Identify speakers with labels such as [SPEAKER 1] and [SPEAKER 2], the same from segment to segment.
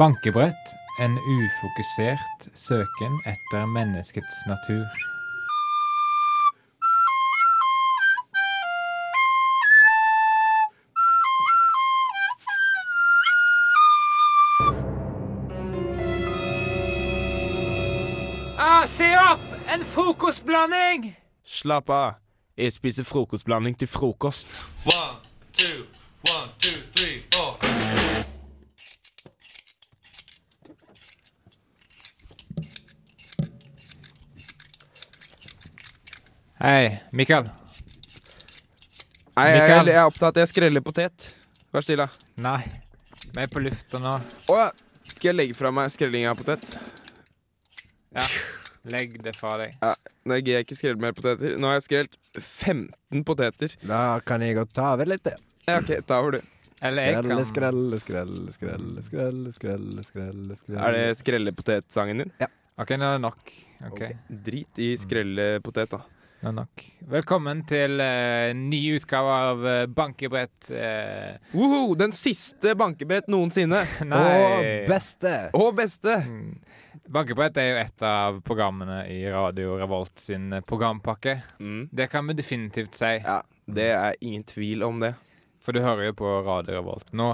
[SPEAKER 1] Bankebrett en ufokusert søken etter menneskets natur. Ah, se opp! En frokostblanding!
[SPEAKER 2] Slapp av. Jeg spiser frokostblanding til frokost.
[SPEAKER 3] One, two, one, two, three, four.
[SPEAKER 1] Hei, Mikael.
[SPEAKER 2] Nei, jeg,
[SPEAKER 1] Mikael.
[SPEAKER 2] jeg er opptatt. Jeg skreller potet. Vær stille.
[SPEAKER 1] Nei, vi er på lufta nå.
[SPEAKER 2] Å ja. Skal jeg legge fra meg skrelling av potet?
[SPEAKER 1] Ja, legg det fra deg.
[SPEAKER 2] Ja, Nei, jeg gidder ikke skrelle mer poteter. Nå har jeg skrelt 15 poteter.
[SPEAKER 4] Da kan jeg godt ta over litt. jeg.
[SPEAKER 2] Ja, OK, ta over, du.
[SPEAKER 1] Eller jeg
[SPEAKER 4] Skrelle,
[SPEAKER 1] kan
[SPEAKER 4] skrelle, skrelle, skrelle, skrelle, skrelle, skrelle, skrelle.
[SPEAKER 2] Er det skrellepotetsangen din?
[SPEAKER 1] OK, nå er det nok. Ok,
[SPEAKER 4] Ok.
[SPEAKER 2] Drit i skrellepotet, da.
[SPEAKER 1] nå er det nok. Velkommen til eh, ny utgave av eh, Bankebrett. eh,
[SPEAKER 2] Woho! Den siste bankebrett noensinne.
[SPEAKER 1] nei
[SPEAKER 4] Og beste!
[SPEAKER 2] Og beste!
[SPEAKER 1] Mm. Bankebrett er jo et av programmene i Radio Revolt sin eh, programpakke.
[SPEAKER 2] Mm.
[SPEAKER 1] Det kan vi definitivt si,
[SPEAKER 2] Ja, det er ingen tvil om det.
[SPEAKER 1] for du hører jo på Radio Revolt nå.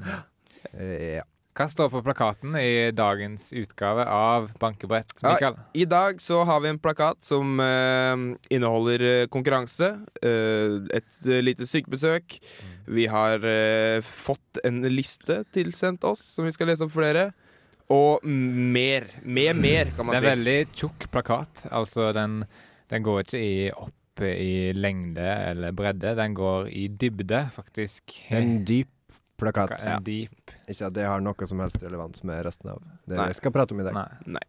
[SPEAKER 4] Eh, Ja.
[SPEAKER 1] Hva står på plakaten i dagens utgave av Bankebrett,
[SPEAKER 2] Ja,
[SPEAKER 1] Mikael?
[SPEAKER 2] I dag så har vi en plakat som eh, inneholder eh, konkurranse, eh, et eh, lite sykebesøk.
[SPEAKER 1] Mm.
[SPEAKER 2] Vi har eh, fått en liste tilsendt oss som vi skal lese opp for dere. Og mer. Med mer,
[SPEAKER 1] Det
[SPEAKER 2] kan man
[SPEAKER 1] er
[SPEAKER 2] si.
[SPEAKER 1] veldig tjukk plakat. Altså, den, den går ikke i opp i lengde eller bredde. Den går i dybde, faktisk. Eh,
[SPEAKER 4] En dyp
[SPEAKER 1] Ka-
[SPEAKER 4] plakat.
[SPEAKER 1] en deep
[SPEAKER 4] Ikke at det har noe som helst relevans med resten av det
[SPEAKER 2] Nei.
[SPEAKER 4] vi skal prate om i dag.
[SPEAKER 1] Nei.
[SPEAKER 2] Nei.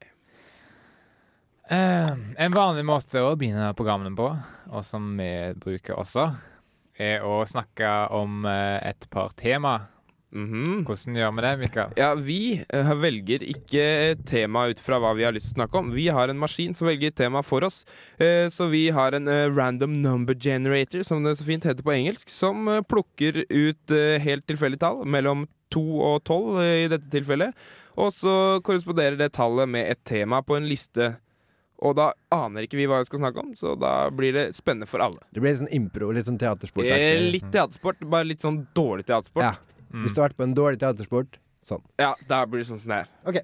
[SPEAKER 1] Eh, en vanlig måte å begynne programmene på, og som vi bruker også, er å snakke om eh, et par tema.
[SPEAKER 2] Mhm.
[SPEAKER 1] Hvordan gjør vi det, Mikael?
[SPEAKER 2] Ja, vi eh, velger ikke tema ut fra hva vi har lyst til å snakke om. Vi har en maskin som velger tema for oss. Eh, Så vi har en eh, random number generator, som det så fint heter på engelsk, som eh, plukker ut eh, helt tilfeldige tall mellom 2 og 12 eh, i dette tilfellet. Og så korresponderer det tallet med et tema på en liste. Og da aner ikke vi hva vi skal snakke om, så da blir det spennende for alle.
[SPEAKER 4] Det blir litt sånn impro, litt sånn teatersport.
[SPEAKER 2] Eh, Litt teatersport, bare litt sånn dårlig teatersport.
[SPEAKER 4] Ja. Hvis du har vært på en dårlig teatersport, sånn.
[SPEAKER 2] Ja, da blir det sånn som det er.
[SPEAKER 4] OK.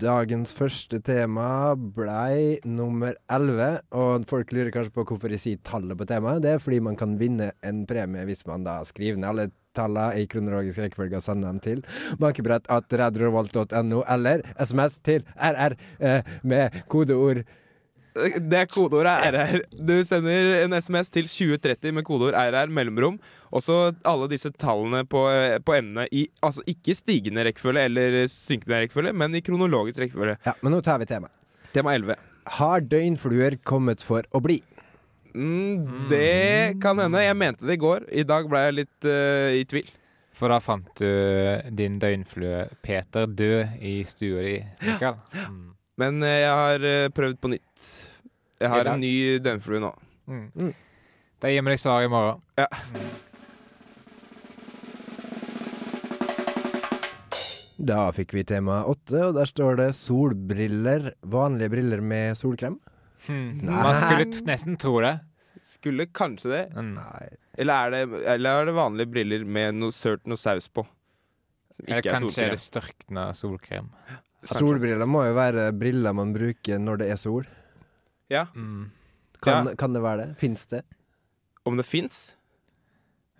[SPEAKER 4] Dagens første tema blei nummer 11, og folk lurer kanskje på hvorfor jeg sier tallet på temaet. Det er fordi man kan vinne en premie hvis man da skriver ned alle tallene i kronologisk rekkefølge og sender dem til bankebrett at radiorevolt.no eller SMS til RR eh, med kodeord
[SPEAKER 2] Det kodeordet er RR. Du sender en SMS til 2030 med kodeord RR mellomrom. Og så alle disse tallene på, eh, på emnet i altså ikke stigende rekkefølge eller synkende rekkefølge, men i kronologisk rekkefølge.
[SPEAKER 4] Ja, men nå tar vi temaet.
[SPEAKER 2] Tema 11.
[SPEAKER 4] Har døgnfluer kommet for å bli?
[SPEAKER 2] Mm, det kan hende. Jeg mente det i går. I dag ble jeg litt eh, i tvil.
[SPEAKER 1] For da fant du din døgnflue Peter død i stua di, Mikael. Mm.
[SPEAKER 2] Men eh, jeg har eh, prøvd på nytt.
[SPEAKER 1] I
[SPEAKER 2] Jeg har
[SPEAKER 1] dag?
[SPEAKER 2] en ny døgnflue nå.
[SPEAKER 1] Mm.
[SPEAKER 4] Mm.
[SPEAKER 1] Da gir vi deg svar i morgen.
[SPEAKER 2] Ja.
[SPEAKER 4] Da fikk vi tema åtte, og der står det solbriller. Vanlige briller med solkrem?
[SPEAKER 1] Hmm.
[SPEAKER 4] Nei.
[SPEAKER 1] Man skulle t nesten tro det.
[SPEAKER 2] Skulle kanskje det.
[SPEAKER 1] Mm.
[SPEAKER 4] Nei.
[SPEAKER 2] Eller er det, eller er det vanlige briller med noe sørt noe saus på? Som
[SPEAKER 1] Eller
[SPEAKER 2] ikke er
[SPEAKER 1] kanskje er
[SPEAKER 2] solkrem.
[SPEAKER 1] det størkna solkrem.
[SPEAKER 4] Solbriller må jo være briller man bruker når det er sol.
[SPEAKER 2] Ja.
[SPEAKER 1] Mm.
[SPEAKER 4] Kan, kan det være det? Fins det?
[SPEAKER 2] Om det fins?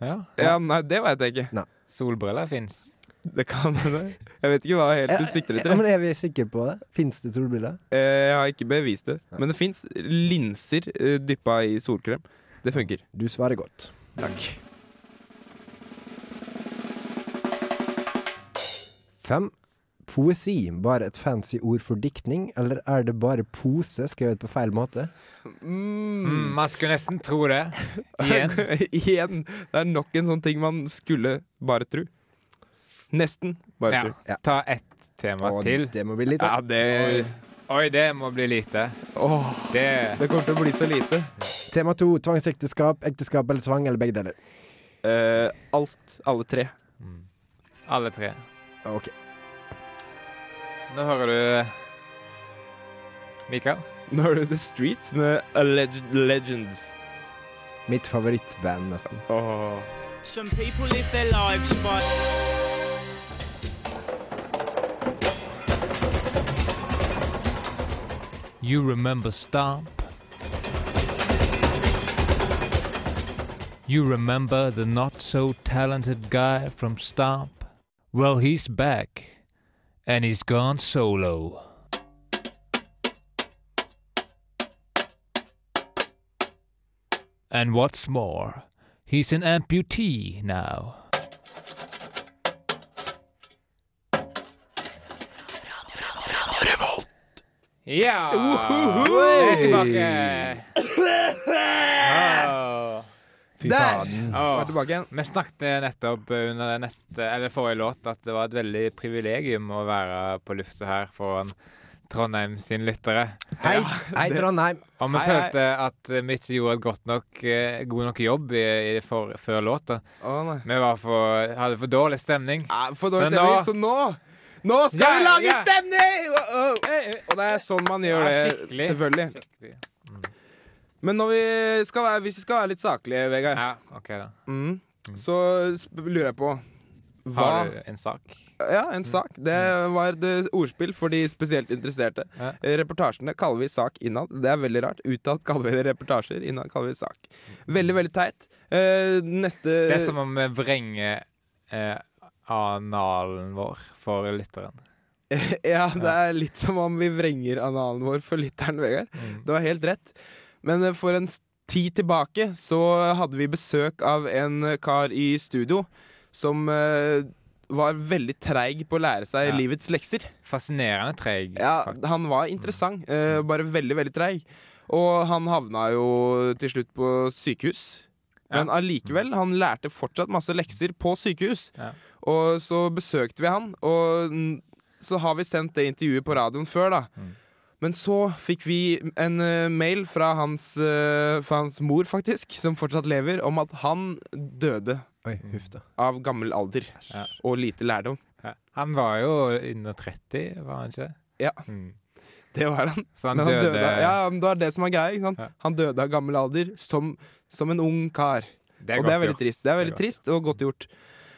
[SPEAKER 1] Ja.
[SPEAKER 2] Ja, nei, det veit jeg ikke.
[SPEAKER 1] Solbriller fins.
[SPEAKER 2] Det kan hende. Jeg vet ikke hva helt du sikter
[SPEAKER 4] Ja,
[SPEAKER 2] etter.
[SPEAKER 4] men er vi sikre på det? Fins det solbriller?
[SPEAKER 2] Eh, Jeg har ikke bevist det. Men det fins linser eh, dyppa i solkrem. Det funker.
[SPEAKER 4] Du svarer godt.
[SPEAKER 2] Takk.
[SPEAKER 4] Fem. Poesi bare et fancy ord for diktning, eller er det bare pose skrevet på feil måte?
[SPEAKER 2] Mm.
[SPEAKER 1] Mm, man skulle nesten tro det. Igjen.
[SPEAKER 2] Igjen. Det er nok en sånn ting man skulle bare tro. Nesten bare
[SPEAKER 1] Ja.
[SPEAKER 2] tro.
[SPEAKER 4] Ja.
[SPEAKER 1] Ta ett tema
[SPEAKER 4] Og
[SPEAKER 1] til.
[SPEAKER 4] Det må bli litt
[SPEAKER 2] Ja, det
[SPEAKER 1] Oi, det må bli lite.
[SPEAKER 2] Åh,
[SPEAKER 1] Det
[SPEAKER 2] det kommer til å bli så lite.
[SPEAKER 4] Tema to tvangsekteskap, ekteskap eller tvang, eller begge deler.
[SPEAKER 2] Eh, alt. Alle tre.
[SPEAKER 1] Mm. Alle tre.
[SPEAKER 4] Ok.
[SPEAKER 1] Nå hører du eh, Mikael.
[SPEAKER 2] Nå har du The Streets med Alleged Legends.
[SPEAKER 4] Mitt favorittband, nesten.
[SPEAKER 2] Åh.
[SPEAKER 5] Some people live their lives by.
[SPEAKER 1] You remember Stomp. You remember the not so talented guy from Stomp? Well, he's back. And he's gone solo. And what's more, he's an amputee now. Ja! Jeg er tilbake! Åh.
[SPEAKER 4] Fy faen.
[SPEAKER 2] Vær
[SPEAKER 1] Åh.
[SPEAKER 2] tilbake igjen.
[SPEAKER 1] Vi snakket nettopp under den neste, eller forrige låt at det var et veldig privilegium å være på lufta her foran Trondheim sin lyttere.
[SPEAKER 4] Hei, hei Trondheim.
[SPEAKER 1] Og vi
[SPEAKER 2] Hei, hei.
[SPEAKER 1] følte at vi ikke gjorde et godt nok, eh, god nok jobb i, i det for, før låta.
[SPEAKER 2] Å, nei.
[SPEAKER 1] Vi var for, hadde for dårlig stemning.
[SPEAKER 2] Nei, For
[SPEAKER 1] Så
[SPEAKER 2] dårlig stemning.
[SPEAKER 1] nå-
[SPEAKER 2] Så nå Nå skal
[SPEAKER 1] Ja,
[SPEAKER 2] vi lage
[SPEAKER 1] ja.
[SPEAKER 2] stemning! Åh, åh.
[SPEAKER 1] Eh, eh,
[SPEAKER 2] Og det er sånn man gjør
[SPEAKER 1] Ja,
[SPEAKER 2] det.
[SPEAKER 1] skikkelig.
[SPEAKER 2] Selvfølgelig.
[SPEAKER 1] skikkelig.
[SPEAKER 2] Men når vi skal være, hvis vi skal være litt saklige, Vegard,
[SPEAKER 1] Ja, OK, da.
[SPEAKER 2] mm, så sp- lurer jeg på hva
[SPEAKER 1] Har du en sak?
[SPEAKER 2] Ja, en sak. Det var et eh, ordspill for de spesielt interesserte.
[SPEAKER 1] Ja.
[SPEAKER 2] Eh, Reportasjene kaller vi sak innad. Det er veldig rart. Utad kaller vi det reportasjer, innad kaller vi det sak. Veldig, veldig teit. Eh, neste
[SPEAKER 1] Det er som om vi vrenger eh, analen vår for lytteren.
[SPEAKER 2] Ja, det er litt som om vi vrenger analen vår for lytteren, Vegard.
[SPEAKER 1] Mm.
[SPEAKER 2] Det var helt rett. Men eh, for en s- tid tilbake så hadde vi besøk av en eh, kar i studio som eh, var veldig treig på å lære seg
[SPEAKER 1] Ja.
[SPEAKER 2] livets lekser.
[SPEAKER 1] Fascinerende treig.
[SPEAKER 2] Ja,
[SPEAKER 1] faktisk.
[SPEAKER 2] han var interessant, eh, bare veldig, veldig treig. Og han havna jo til slutt på sykehus. Men allikevel, han lærte fortsatt masse lekser på sykehus.
[SPEAKER 1] Ja.
[SPEAKER 2] Og så besøkte vi han, og n- så har vi sendt det intervjuet på radioen før, da.
[SPEAKER 1] Mm.
[SPEAKER 2] Men så fikk vi en eh, mail fra hans, eh, fra hans mor, faktisk, som fortsatt lever, om at han døde
[SPEAKER 4] Oi, huff da.
[SPEAKER 2] av gammel alder
[SPEAKER 1] Ja.
[SPEAKER 2] og lite lærdom.
[SPEAKER 1] Ja. Han var jo under 30, var han ikke? det?
[SPEAKER 2] Ja.
[SPEAKER 1] Mm.
[SPEAKER 2] Det var han.
[SPEAKER 1] Så han,
[SPEAKER 2] Men
[SPEAKER 1] døde,
[SPEAKER 2] av- Ja, men det var det som er greia. ikke sant?
[SPEAKER 1] Ja.
[SPEAKER 2] Han døde av gammel alder som, som en ung kar.
[SPEAKER 1] Det
[SPEAKER 2] og det er veldig trist. Det er veldig trist og godt gjort.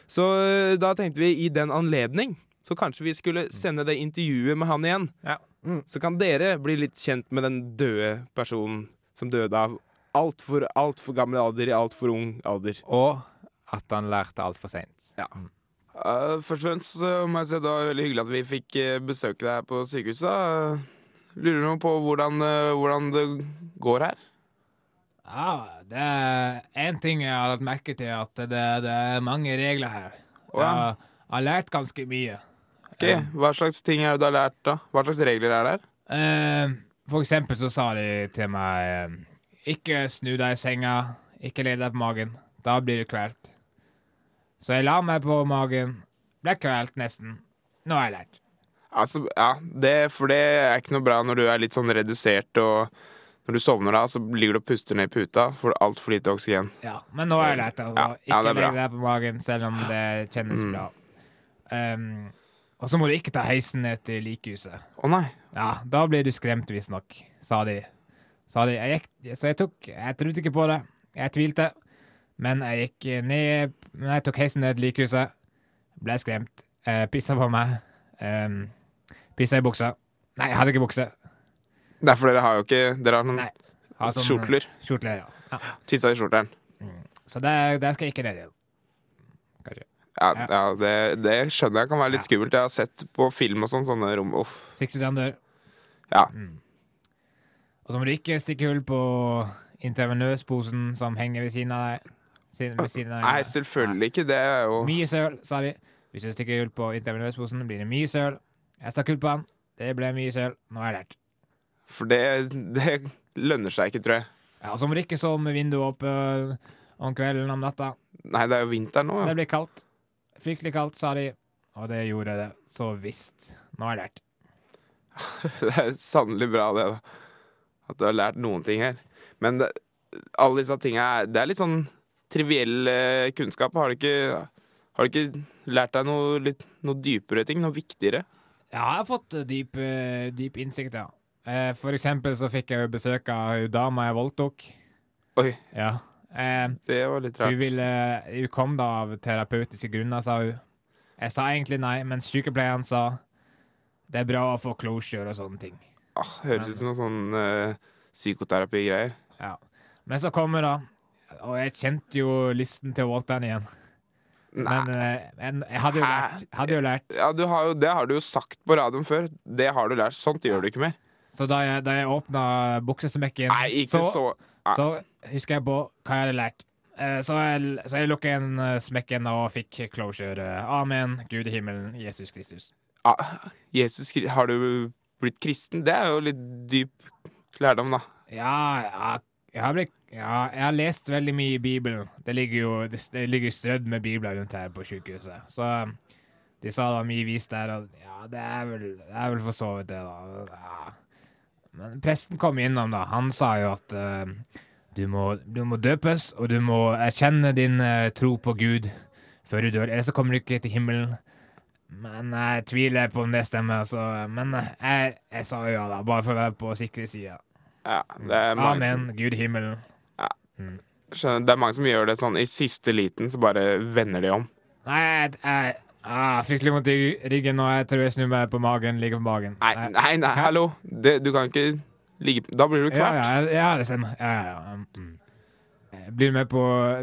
[SPEAKER 2] Så øh, da tenkte vi i den anledning så kanskje vi skulle sende det intervjuet med han igjen.
[SPEAKER 1] Ja.
[SPEAKER 4] Mm.
[SPEAKER 2] Så kan dere bli litt kjent med den døde personen som døde av altfor alt for gammel alder i altfor ung alder.
[SPEAKER 1] Og at han lærte altfor seint.
[SPEAKER 2] Eh, først og fremst så må jeg si at det var veldig hyggelig at vi fikk eh, besøke deg på sykehuset. Eh, lurer nå på hvordan, eh, hvordan det går her.
[SPEAKER 1] Ja, det er én ting jeg har lagt merke til, at det, det er mange regler her.
[SPEAKER 2] Å, ja.
[SPEAKER 1] Jeg har lært ganske mye.
[SPEAKER 2] Ok, Hva slags ting er det du har lært, da? Hva slags regler er der?
[SPEAKER 1] Eh, for eksempel så sa de til meg eh, Ikke snu deg i senga, ikke legg deg på magen. Da blir du kvelt. Så jeg la meg på magen. Ble kvelt, nesten. Nå har jeg lært.
[SPEAKER 2] Altså, ja, det, For det er ikke noe bra når du er litt sånn redusert og når du sovner da, så ligger du og puster ned i puta, får du altfor lite oksygen.
[SPEAKER 1] Ja, men nå har jeg lært det. Altså.
[SPEAKER 2] Ja, ja,
[SPEAKER 1] ikke
[SPEAKER 2] det er bra. Mm.
[SPEAKER 1] legg deg på magen, selv om det kjennes bra. Um, og så må du ikke ta heisen ned til likhuset.
[SPEAKER 2] Å nei.
[SPEAKER 1] Ja, da blir du skremt, visstnok, sa de. Sa de. Jeg gikk, så jeg tok Jeg trodde ikke på det. Jeg tvilte. Men jeg gikk ned Men jeg tok heisen ned til likhuset. Ble skremt. Uh, pissa på meg. Um, pissa i buksa. Nei, jeg hadde ikke bukse.
[SPEAKER 2] Det er for dere har jo ikke Dere har noen
[SPEAKER 1] Nei. Har
[SPEAKER 2] altså,
[SPEAKER 1] sånn-
[SPEAKER 2] skjortler.
[SPEAKER 1] Skjortler, ja. ja.
[SPEAKER 2] Tissa i skjorteren.
[SPEAKER 1] Så der, der skal jeg ikke ned igjen. Kanskje.
[SPEAKER 2] Ja,
[SPEAKER 1] Ja.
[SPEAKER 2] ja det, det skjønner jeg kan være
[SPEAKER 1] Ja.
[SPEAKER 2] litt skummelt. Jeg har sett på film og sånn sånne rom Uff.
[SPEAKER 1] 60 dør.
[SPEAKER 2] Ja.
[SPEAKER 1] Mm. Og så må du ikke stikke hull på intravenøsposen som henger ved siden av deg. Siden, ved siden av
[SPEAKER 2] Nei,
[SPEAKER 1] deg.
[SPEAKER 2] selvfølgelig ikke. Det er jo
[SPEAKER 1] Mye søl, sa de. Hvis du stikker hull på intravenøsposen, blir det mye søl. Jeg stakk hull på den. Det ble mye søl. Nå har jeg lært.
[SPEAKER 2] For det, det lønner seg ikke, tror jeg.
[SPEAKER 1] Ja, og så må du ikke sove med vinduet oppe om kvelden om natta.
[SPEAKER 2] Nei, det er jo vinter nå.
[SPEAKER 1] Det
[SPEAKER 2] Ja.
[SPEAKER 1] blir kaldt. Fryktelig kaldt, sa de. Og det gjorde det. Så visst. Nå har jeg lært.
[SPEAKER 2] Det er sannelig bra, det. da At du har lært noen ting her. Men det, alle disse tinga er Det er litt sånn triviell eh, kunnskap. Har du ikke, har du ikke lært deg noe, litt, noe dypere ting? Noe viktigere?
[SPEAKER 1] Ja, jeg har fått eh, dyp, eh, dyp innsikt, ja. Eh, For eksempel så fikk jeg jo besøk av hun dama jeg voldtok.
[SPEAKER 2] Oi,
[SPEAKER 1] Ja. Eh,
[SPEAKER 2] det var litt
[SPEAKER 1] hun,
[SPEAKER 2] rart.
[SPEAKER 1] ville, hun kom da av terapeutiske grunner, sa hun. Jeg sa egentlig nei, men sykepleieren sa det er bra å få closure og sånne ting.
[SPEAKER 2] Ah, høres ut som noe sånn eh, psykoterapi-greier.
[SPEAKER 1] Ja. Men så kom hun, da. Og jeg kjente jo lysten til å voldta henne igjen.
[SPEAKER 2] Nei.
[SPEAKER 1] Men eh, en- jeg hadde jo
[SPEAKER 2] Hæ?
[SPEAKER 1] lært, hadde jo lært.
[SPEAKER 2] Ja, du har jo, det har du jo sagt på radioen før. Det har du lært. Sånt gjør du ikke mer.
[SPEAKER 1] Så da jeg, da jeg åpna buksesmekken,
[SPEAKER 2] Nei, ikke så, Nei.
[SPEAKER 1] så husker jeg på hva jeg hadde lært. Eh, Så jeg, så jeg lukket en eh, smekken og fikk closure. Eh, Amen, Gud i himmelen, Jesus Kristus.
[SPEAKER 2] ah, Jesus, Kri- har du blitt kristen? Det er jo litt dyp lærdom, da.
[SPEAKER 1] Ja, ja, jeg har, blitt, ja, jeg har lest veldig mye i Bibelen. Det ligger jo det, det ligger strødd med Bibler rundt her på sykehuset. Så um, de sa det var mye vis der, og ja, det er vel, det er vel for så vidt det, da. Ja. Men presten kom innom, da. Han sa jo at eh, du, må, du må døpes, og du må erkjenne din eh, tro på Gud før du dør, ellers så kommer du ikke til himmelen. Men jeg tviler på om det stemmer, så Men eh, jeg, jeg sa jo ja, da, bare for å være på sikre sida.
[SPEAKER 2] Ja, det er mange
[SPEAKER 1] Amen, Gud i himmelen.
[SPEAKER 2] Som, skjønner, det er mange som gjør det sånn i siste liten, så bare vender de om.
[SPEAKER 1] Nei, jeg, jeg ah, fryktelig vondt i ryggen, og jeg tror jeg snur meg på magen. Ligger på magen.
[SPEAKER 2] Nei,
[SPEAKER 1] Jeg-
[SPEAKER 2] nei, nei hallo! Det, du kan ikke ligge Da blir
[SPEAKER 1] Ja,
[SPEAKER 2] du kvalt.
[SPEAKER 1] ja, ja, det stemmer. Ja, ja, ja. mm, Mm. Jeg Blir du med på,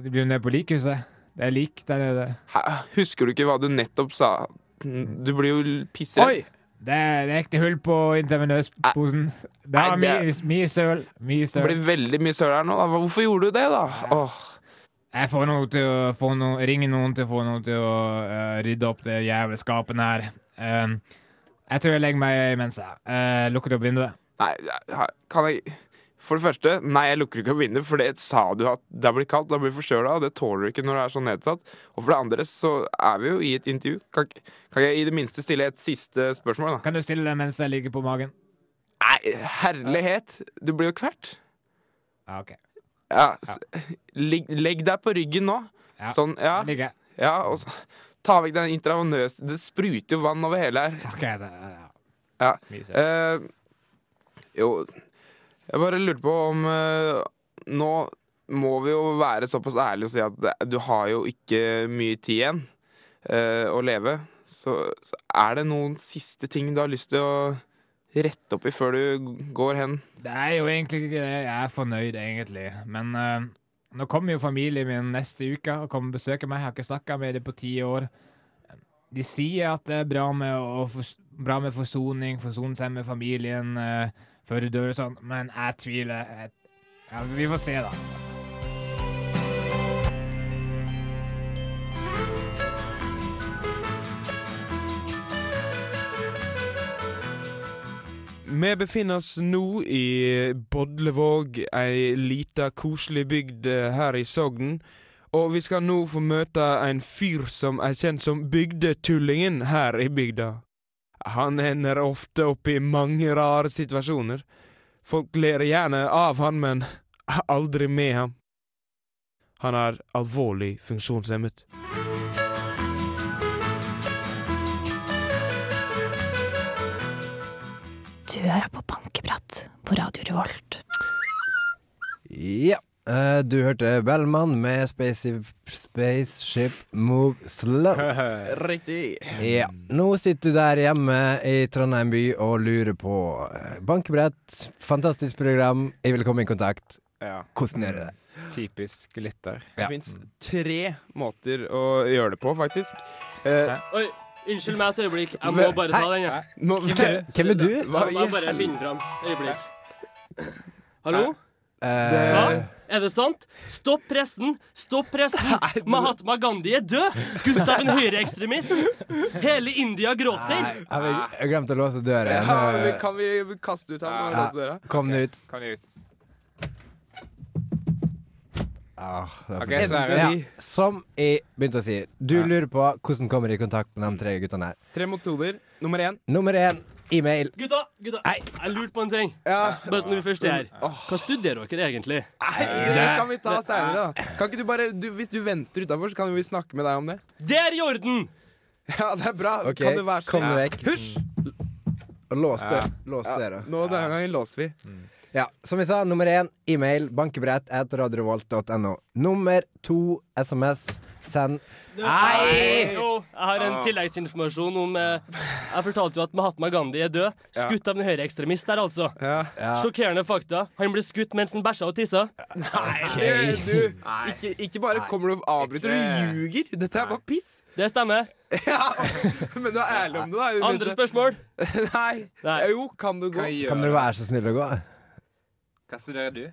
[SPEAKER 1] blir du med på likhuset? Det er lik der nede.
[SPEAKER 2] Hæ, Husker du ikke hva du nettopp sa? Du blir jo l-
[SPEAKER 1] Oi!
[SPEAKER 2] pissredd.
[SPEAKER 1] Det er det er ekte hull på intravenøsposen. Det
[SPEAKER 2] Nei,
[SPEAKER 1] er mye,
[SPEAKER 2] det-
[SPEAKER 1] mye søl. Mye
[SPEAKER 2] Det
[SPEAKER 1] søl.
[SPEAKER 2] blir veldig mye søl her nå. Da. Hvorfor gjorde du det, da? Åh,
[SPEAKER 1] Jeg får noe til å få noe, ringe noen til å få noen til å eh, rydde opp det jævla skapene her. Um, jeg tror jeg legger meg imens, jeg. Eh, lukket opp vinduet.
[SPEAKER 2] nei, jeg- kan jeg For det første, nei, jeg lukker ikke opp vinduet, for det sa du at det blir kaldt, da blir du forkjøla, og det tåler du ikke når du er så nedsatt. Og for det andre så er vi jo i et intervju. Kan, ikke- kan jeg i det minste stille et siste spørsmål, da?
[SPEAKER 1] Kan du stille deg mens jeg ligger på magen?
[SPEAKER 2] Nei, herlighet! Du blir jo kvert.
[SPEAKER 1] Ja, Ah, OK.
[SPEAKER 2] Ja, s- Ligg, legg deg på ryggen nå.
[SPEAKER 1] Ja.
[SPEAKER 2] Sånn, ja.
[SPEAKER 1] Der ligger jeg.
[SPEAKER 2] ja og så, ta vekk den intravenøse Det spruter jo vann over hele her.
[SPEAKER 1] OK, det, ja.
[SPEAKER 2] Ja.
[SPEAKER 1] Mye søl.
[SPEAKER 2] Eh, jo, jeg bare lurte på om eh, Nå må vi jo være såpass ærlige og si at det- du har jo ikke mye tid igjen eh, å leve. Så, så er det noen siste ting du har lyst til å rette opp i før du går hen?
[SPEAKER 1] det er jo egentlig ikke det. Jeg er fornøyd, egentlig. Men eh, nå kommer jo familien min neste uke og kommer og besøker meg. Jeg har ikke snakka med dem på ti år. De sier at det er bra med, å, fors- bra med forsoning, forsone seg med familien eh, før du dør og sånn, men jeg tviler. Jeg, ja, vi får se, da.
[SPEAKER 2] Vi befinner oss nå i Bodlevåg, ei lita koselig bygd eh, her i Sogn. Og vi skal nå få møte en fyr som er kjent som bygdetullingen her i bygda. Han ender ofte opp i mange rare situasjoner. Folk ler gjerne av han, men aldri med ham. Han er alvorlig funksjonshemmet.
[SPEAKER 6] Du hører på Bankeprat på Radio Revolt.
[SPEAKER 4] Ja. eh, du hørte Bellman med Spaceship, spaceship Move Slow.
[SPEAKER 2] Riktig.
[SPEAKER 4] Ja. Nå sitter du der hjemme i Trondheim by og lurer på eh, bankebrett, fantastisk program, jeg vil komme i kontakt.
[SPEAKER 2] Ja.
[SPEAKER 4] Hvordan gjør jeg det?
[SPEAKER 7] Typisk lytter.
[SPEAKER 4] Ja.
[SPEAKER 2] Det fins tre måter å gjøre det på, faktisk. Eh,
[SPEAKER 8] Oi, unnskyld meg et øyeblikk. Jeg må bare ta den, jeg.
[SPEAKER 2] nå,
[SPEAKER 4] Hvem er du?
[SPEAKER 2] Hva i
[SPEAKER 8] Jeg må bare finne fram. Øyeblikk. Hallo?
[SPEAKER 4] Eh,
[SPEAKER 8] Hva? Er det sant? Stopp pressen! Stopp pressen! Mahatma Gandhi er død! Skutt av en høyreekstremist! Hele India gråter!
[SPEAKER 4] jeg vil- jeg glemte å låse døren.
[SPEAKER 2] Ja,
[SPEAKER 4] Eh,
[SPEAKER 2] vi- Kan vi kaste ut han? og
[SPEAKER 4] Ja.
[SPEAKER 2] låse døra?
[SPEAKER 4] Kom den ut.
[SPEAKER 7] Kan du ut?
[SPEAKER 4] Ah, det var
[SPEAKER 7] Ok,
[SPEAKER 4] fint.
[SPEAKER 7] så er det
[SPEAKER 4] ja, som jeg begynte å si, du lurer på hvordan kommer jeg i kontakt med de tre guttene her.
[SPEAKER 2] Tre metoder. Nummer én
[SPEAKER 4] Nummer én E-mail.
[SPEAKER 8] Gutta, gutta, jeg lurte på en ting. Bare sånn når vi først er her. Hva studerer dere egentlig?
[SPEAKER 2] Nei, Eh, det Eh. kan vi ta seinere, da. Kan ikke du bare, du, hvis du venter utafor, så kan vi snakke med deg om det.
[SPEAKER 8] Det er i orden!
[SPEAKER 2] Ja, det er bra.
[SPEAKER 4] Ok,
[SPEAKER 2] Kan du være så
[SPEAKER 4] kom
[SPEAKER 2] snill?
[SPEAKER 4] vekk.
[SPEAKER 2] Hysj!
[SPEAKER 4] Og Lås døra. Lås døra.
[SPEAKER 2] Nå denne gangen låser vi.
[SPEAKER 4] Ja, som vi sa, nummer én e-mail bankebrett at radiovolt.no. Nummer to SMS. Send
[SPEAKER 8] Nei! Jo, jeg har en tilleggsinformasjon om eh, Jeg fortalte jo at Mahatma Gandhi er død. Skutt av en høyreekstremist der, altså.
[SPEAKER 2] Ja.
[SPEAKER 8] Sjokkerende fakta. Han ble skutt mens han bæsja og tissa.
[SPEAKER 2] Nei, Du, ikke, ikke bare kommer du og avbryter,
[SPEAKER 1] Ikke-
[SPEAKER 2] du ljuger. Dette er bare piss.
[SPEAKER 8] Det stemmer.
[SPEAKER 2] Men du er ærlig om det, da. i det
[SPEAKER 8] Andre
[SPEAKER 2] minste.
[SPEAKER 8] spørsmål?
[SPEAKER 2] Nei.
[SPEAKER 8] Nei.
[SPEAKER 2] Jo, kan du gå?
[SPEAKER 4] Kan dere være så snille å gå?
[SPEAKER 1] Hva studerer du?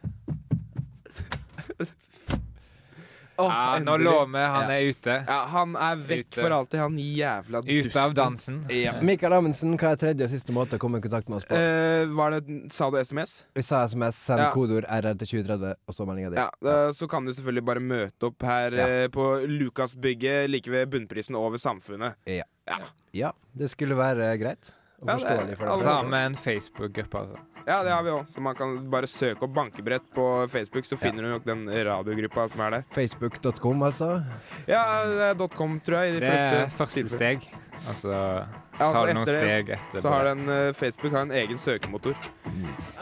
[SPEAKER 2] Åh,
[SPEAKER 1] Ja, nå
[SPEAKER 2] endelig.
[SPEAKER 1] lå vi, han er ute.
[SPEAKER 2] Ja, han er vekk
[SPEAKER 1] Ute.
[SPEAKER 2] for alltid, han jævla dusten.
[SPEAKER 1] Ute av dansen.
[SPEAKER 4] Mikael Amundsen, hva er tredje og siste måte å komme i kontakt med oss på?
[SPEAKER 2] Eh, var det, sa du SMS?
[SPEAKER 4] Vi sa SMS, send
[SPEAKER 2] ja.
[SPEAKER 4] kodeord RR til 2030, og så meldinga di.
[SPEAKER 2] Ja, da, Så kan du selvfølgelig bare møte opp her
[SPEAKER 4] Ja.
[SPEAKER 2] eh, på Lukasbygget like ved bunnprisen og ved Samfunnet.
[SPEAKER 4] Ja, det skulle være greit. Og
[SPEAKER 2] Ja, det er-
[SPEAKER 4] forståelig for
[SPEAKER 2] alle
[SPEAKER 4] deg.
[SPEAKER 1] Samme en Facebook-gruppe, altså.
[SPEAKER 2] Ja, det har vi òg, så man kan bare søke opp bankebrett på Facebook, så finner du nok den radiogruppa som er der.
[SPEAKER 4] Facebook.com, altså.
[SPEAKER 2] Ja, det er .com, tror jeg. I de
[SPEAKER 1] Det er
[SPEAKER 2] fleste
[SPEAKER 1] første
[SPEAKER 2] tilfeller.
[SPEAKER 1] steg. Altså
[SPEAKER 2] Ja, altså,
[SPEAKER 1] tar du noen
[SPEAKER 2] etter det
[SPEAKER 1] steg etter.
[SPEAKER 2] Så har
[SPEAKER 1] bare.
[SPEAKER 2] den, eh, Facebook har en egen søkemotor.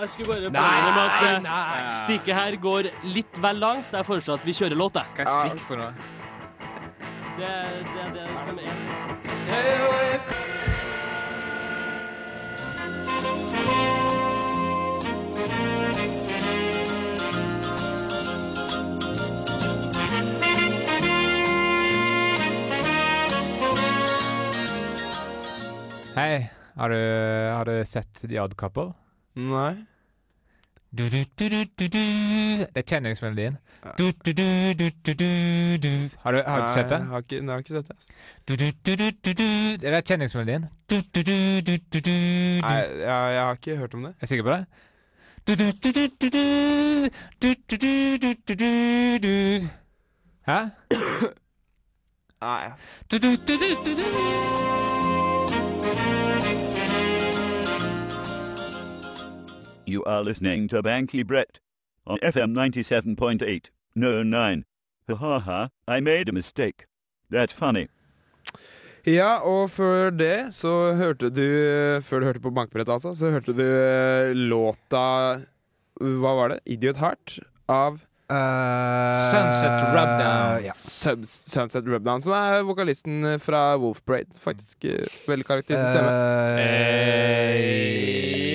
[SPEAKER 8] Jeg skulle bare påminne om at eh, stikket her går litt vel langt, så jeg foreslår at vi kjører låt, jeg.
[SPEAKER 1] Hva er stikk for noe?
[SPEAKER 8] Det, det, det som er.
[SPEAKER 1] Hei, har du, har du sett The Odd Couple?
[SPEAKER 2] Nei.
[SPEAKER 1] Du, du, du, du, du, du. Det er kjenningsmelodien. Du, du, du, du, du, du, du. Har du, har du sett den?
[SPEAKER 2] Nei, jeg Har ikke, nei, jeg har ikke sett det. ass.
[SPEAKER 1] Du, du, du, du, du, du. Det er kjenningsmelodien. Du, du, du, du, du, du, du.
[SPEAKER 2] Nei, jeg, jeg har ikke hørt om det.
[SPEAKER 1] Er du sikker på det? Du, du, du, du, du, du. Du, du, du, du, du, du, du. Hæ?
[SPEAKER 2] Nei.
[SPEAKER 1] Du, du, du, du, du, du.
[SPEAKER 7] You are listening to Bankley Brett on FM 97.8. No, 9. Ha ha ha, I made a mistake. That's funny.
[SPEAKER 2] Ja, og før det så hørte du Før du hørte på bankbrett, altså, så hørte du eh, låta Hva var det? Idiot Heart av
[SPEAKER 1] Sunset Rubdown.
[SPEAKER 4] Eh, Ja.
[SPEAKER 2] Sub Sunset Rubdown, som er vokalisten fra Wolf Parade. Faktisk eh, veldig karakteristisk stemme.